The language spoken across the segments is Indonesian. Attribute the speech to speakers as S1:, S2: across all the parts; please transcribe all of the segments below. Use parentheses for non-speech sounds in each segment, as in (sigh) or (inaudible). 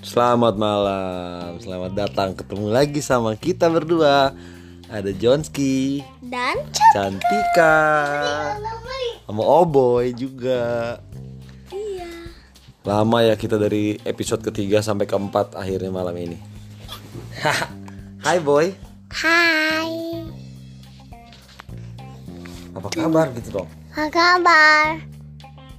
S1: Selamat malam, selamat datang ketemu lagi sama kita berdua Ada Jonski,
S2: dan
S1: Cantika, sama Oboy juga
S2: iya
S1: Lama ya kita dari episode ketiga sampai keempat akhirnya malam ini (laughs) Hai Boy,
S2: hai
S1: apa kabar gitu dong?
S2: apa kabar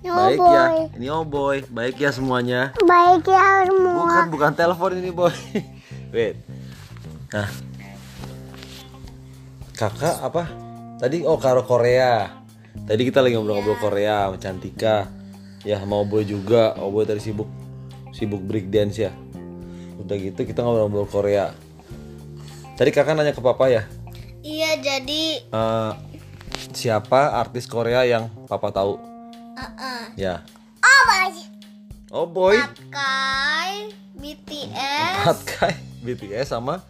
S2: Yo,
S1: Baik
S2: boy.
S1: ya, ini Oboy, baik ya semuanya
S2: baik ya semua
S1: Bukan, bukan telepon ini boy. (laughs) Wait. Nah, kakak apa? Tadi oh karo Korea. Tadi kita lagi ngobrol-ngobrol Korea sama Cantika. Ya mau boy juga. Oh boy tadi sibuk sibuk break dance ya. Udah gitu kita ngobrol-ngobrol Korea. Tadi kakak nanya ke papa ya.
S2: iya jadi
S1: eh, siapa artis Korea yang papa tahu? Ya.
S2: oh baik
S1: Oh boy.
S2: pakai BTS
S1: Pat Kai, BTS sama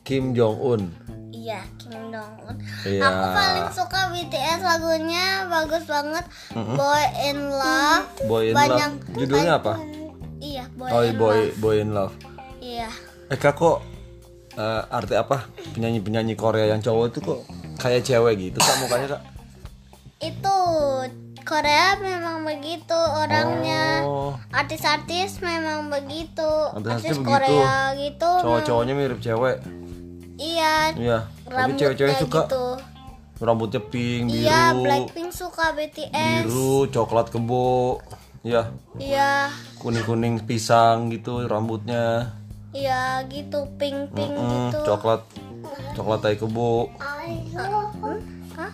S1: Kim Jong Un.
S2: iya Kim Dong Un
S1: Iya.
S2: aku paling suka BTS lagunya bagus banget Boy in Love
S1: Boy in
S2: banyak
S1: Love. Judulnya apa?
S2: iya Boy
S1: Oh,
S2: in
S1: Boy
S2: Love
S1: Boy in Love.
S2: iya
S1: Eh kak kok eh, arti apa penyanyi-penyanyi Korea yang cowok itu kok kayak cewek gitu kak mukanya kak?
S2: itu Korea memang begitu orangnya
S1: Oh,
S2: artis-artis memang begitu
S1: Artis-artis
S2: artis
S1: begitu.
S2: Korea gitu memang-
S1: cowok-cowoknya mirip cewek.
S2: iya
S1: Iya. Tapi
S2: rambutnya
S1: cewek-cewek suka
S2: gitu
S1: rambutnya pink, biru,
S2: iya Blackpink suka BTS
S1: biru, coklat kebo. Iya,
S2: iya
S1: kuning-kuning pisang gitu rambutnya.
S2: iya gitu pink pink
S1: Mm,
S2: gitu
S1: coklat coklat tai kebo.
S2: Hmm? Hah?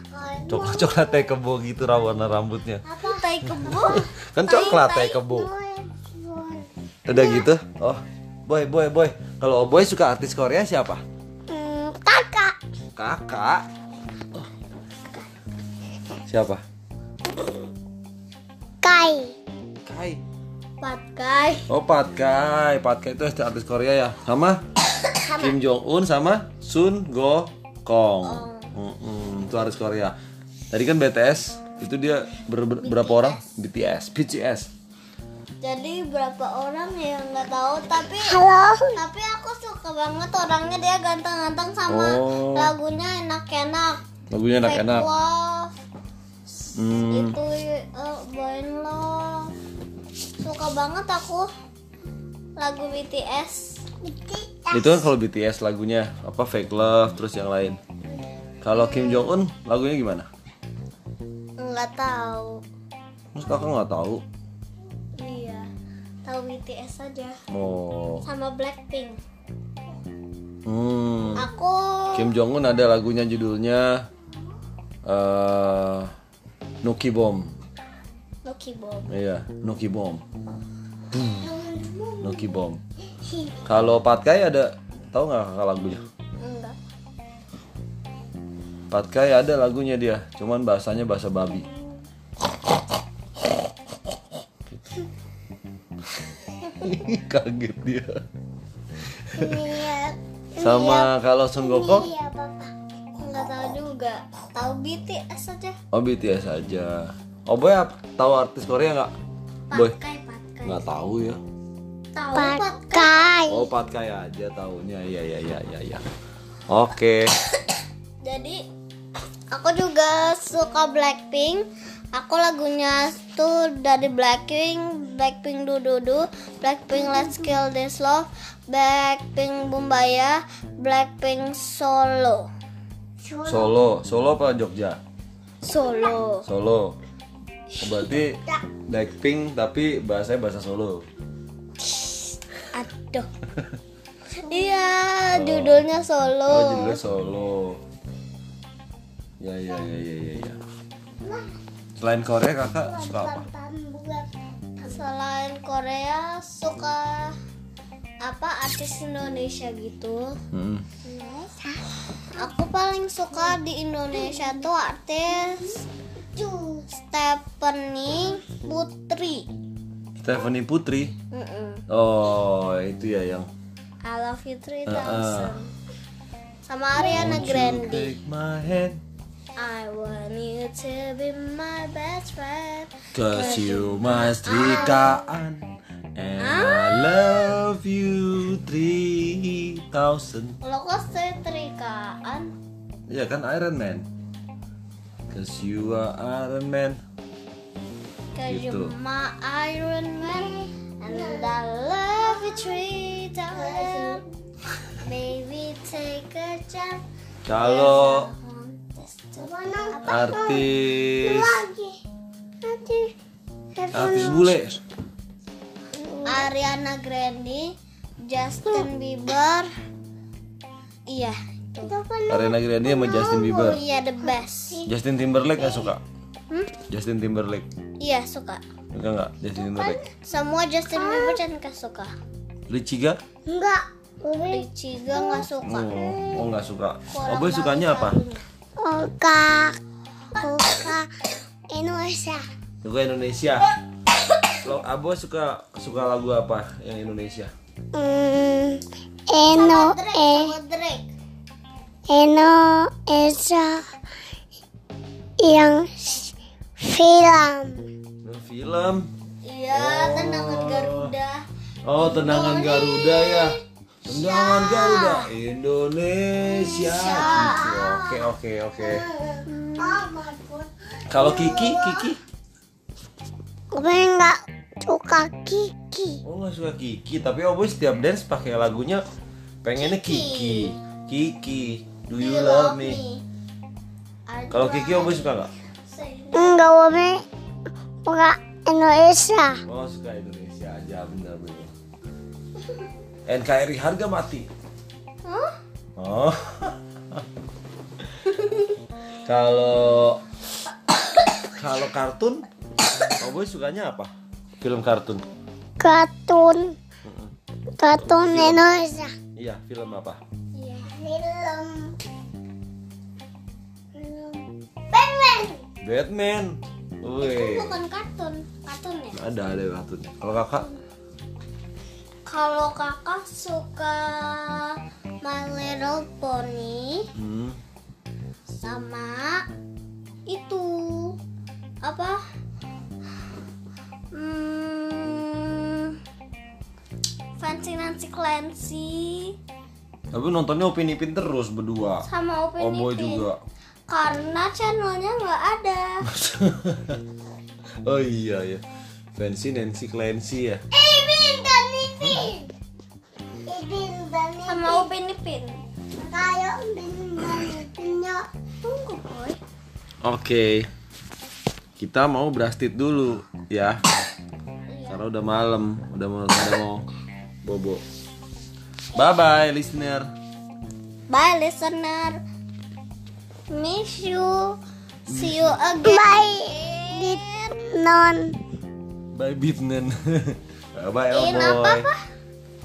S1: Coklat (laughs) coklat tai kebo gitu warna rambutnya.
S2: apa tai kebo
S1: (laughs) Kan coklat tai kebo. Udah gitu? Oh, boy, boy, boy. Kalau oh, boy suka artis Korea siapa?
S2: Hmm, kakak
S1: Kakak. Oh. Siapa?
S2: kai
S1: Kai.
S2: pat kai
S1: Oh, Pat Kai. Pat Kai itu artis Korea ya. Sama Kim Jong Un sama Sun Go Kong. Mm-mm, itu artis Korea. Tadi kan BTS itu dia ber- ber- berapa orang? BTS, BTS.
S2: jadi berapa orang ya nggak tahu tapi halo tapi aku suka banget orangnya dia ganteng-ganteng sama
S1: Oh.
S2: lagunya enak-enak
S1: Lagunya
S2: Fake
S1: enak-enak.
S2: love
S1: Hmm,
S2: itu uh, boy in love suka banget aku lagu BTS
S1: itu kan kalau BTS lagunya apa Fake Love terus yang lain. Kalau Kim Jong Un lagunya gimana?
S2: nggak tahu
S1: Mas kakak nggak tahu.
S2: iya tahu BTS aja
S1: Oh.
S2: sama Blackpink
S1: Hmm.
S2: aku
S1: Kim Jong Un ada lagunya judulnya eh Nuki Bomb.
S2: Lucky Bomb
S1: Iya, Nuki Bomb. Boom. Nuki Bomb. Kalau Pat Kai ada tahu nggak kakak lagunya?
S2: enggak
S1: Pat Kai ada lagunya dia, cuman bahasanya bahasa babi. (laughs) Gitu. Kaget dia.
S2: iya
S1: Sama kalau Sun Gokong,
S2: iya papa nggak tahu juga tahu BTS aja
S1: oh BTS aja. Oh boy, ap- tahu artis Korea nggak? Boy,
S2: pakai pakai
S1: nggak tahu ya.
S2: tahu pakai
S1: Oh, Pat Kai aja tahunya. Iya, iya, iya, iya, iya. Oke.
S2: jadi aku juga suka Blackpink aku lagunya tuh dari Blackpink Blackpink du du du Blackpink Let's Kill This Love Blackpink Bumbaya Blackpink Solo
S1: Solo, Solo apa Jogja?
S2: Solo
S1: Solo. Berarti Blackpink tapi bahasanya bahasa Solo.
S2: aduh
S1: (laughs)
S2: iya judulnya
S1: Oh,
S2: Solo
S1: judulnya Solo. Ya, ya, ya, ya, ya, ya. Selain Korea kakak suka apa?
S2: selain Korea suka apa artis Indonesia gitu
S1: Hmm.
S2: Aku paling suka di Indonesia tuh artis Stephanie Putri.
S1: Stephanie Putri.
S2: Mm-mm.
S1: Oh, itu ya yang.
S2: I love you 3000.
S1: Uh-uh.
S2: Sama Ariana Grande.
S1: Take my hand.
S2: I want you to be my best friend.
S1: Cause you my Trikaan And I love you 3000
S2: Kalau kok setrikaan,
S1: Ya kan Iron Man Cause you are Iron Man
S2: cause
S1: Gitu.
S2: you're my Iron Man, and I love you three times. Maybe take a chance.
S1: Kalau
S2: Lagi.
S1: artis
S2: Nanti.
S1: Artis bule
S2: Ariana Grande, Justin Bieber. Iya. itu.
S1: Arena Grande sama Justin Bieber
S2: Iya the best.
S1: Justin Timberlake gak suka? Justin Timberlake
S2: Iya suka.
S1: Suka gak Justin Timberlake?
S2: Semua Justin Bieber Chanka suka.
S1: Richie gak?
S2: Enggak. Richie juga nggak suka.
S1: Oh, oh gak suka Oboy sukanya apa?
S2: Oka, Oka, Indonesia.
S1: Suka Indonesia Lo Abo suka suka lagu apa yang Indonesia?
S3: Mm, Eno, eh,
S2: Sama Drake.
S3: Eno, Esa, yang s- film.
S1: Nah, film
S2: Iya, tendangan Garuda.
S1: Oh tendangan Garuda ya Tendangan Garuda Indonesia gitu. Oke oke oke Kalau Kiki Kiki
S3: Gue nggak suka Kiki.
S1: Oh nggak suka Kiki tapi Oboy setiap dance pakai lagunya pengennya Kiki Kiki Do you love me? Kalau Kiki Oboy suka nggak?
S3: Enggak, gue suka Indonesia.
S1: Oh suka Indonesia aja bener bener. (laughs) NKRI harga mati. Oh. (laughs) Kalau (coughs) kalau kartun, (coughs) oh boy sukanya apa? Film kartun.
S3: Kartun, kartun Indonesia.
S1: Iya, film apa?
S3: Film, Batman.
S1: Batman. Wih.
S2: Bukan kartun, kartun ya.
S1: Ada ada kartunnya. Kalau kakak,
S2: Kalau kakak suka My Little Pony
S1: hmm,
S2: sama itu apa? Hmm, Fancy Nancy Clancy
S1: tapi nontonnya Upin Ipin terus berdua.
S2: sama Upin
S1: Oh boy
S2: Ipin.
S1: juga.
S2: Karena channelnya nggak ada.
S1: (laughs) oh iya ya. Fancy Nancy Clancy ya.
S3: Ibin dan Ipin. Ibin dan
S2: sama Upin Ipin.
S3: Kayo Ibin dan Ipin yo.
S2: Tunggu boy.
S1: Oke. Kita mau brastit dulu ya. Karena udah malam, udah mau udah mau bobo. Bye bye listener.
S2: Bye listener. Miss you. See you again.
S3: Bye. Dit non.
S1: Bye Bitnen. (laughs) bye bye oh
S2: In apa,
S1: boy.
S2: Pa?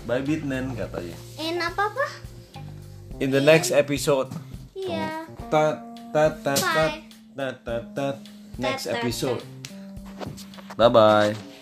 S1: Bye Bitnen katanya.
S2: In apa apa?
S1: In the next episode.
S2: Iya.
S1: Ta ta ta ta
S2: Bye.
S1: ta ta ta. Next
S2: Ta, ta, ta.
S1: episode. Bye bye.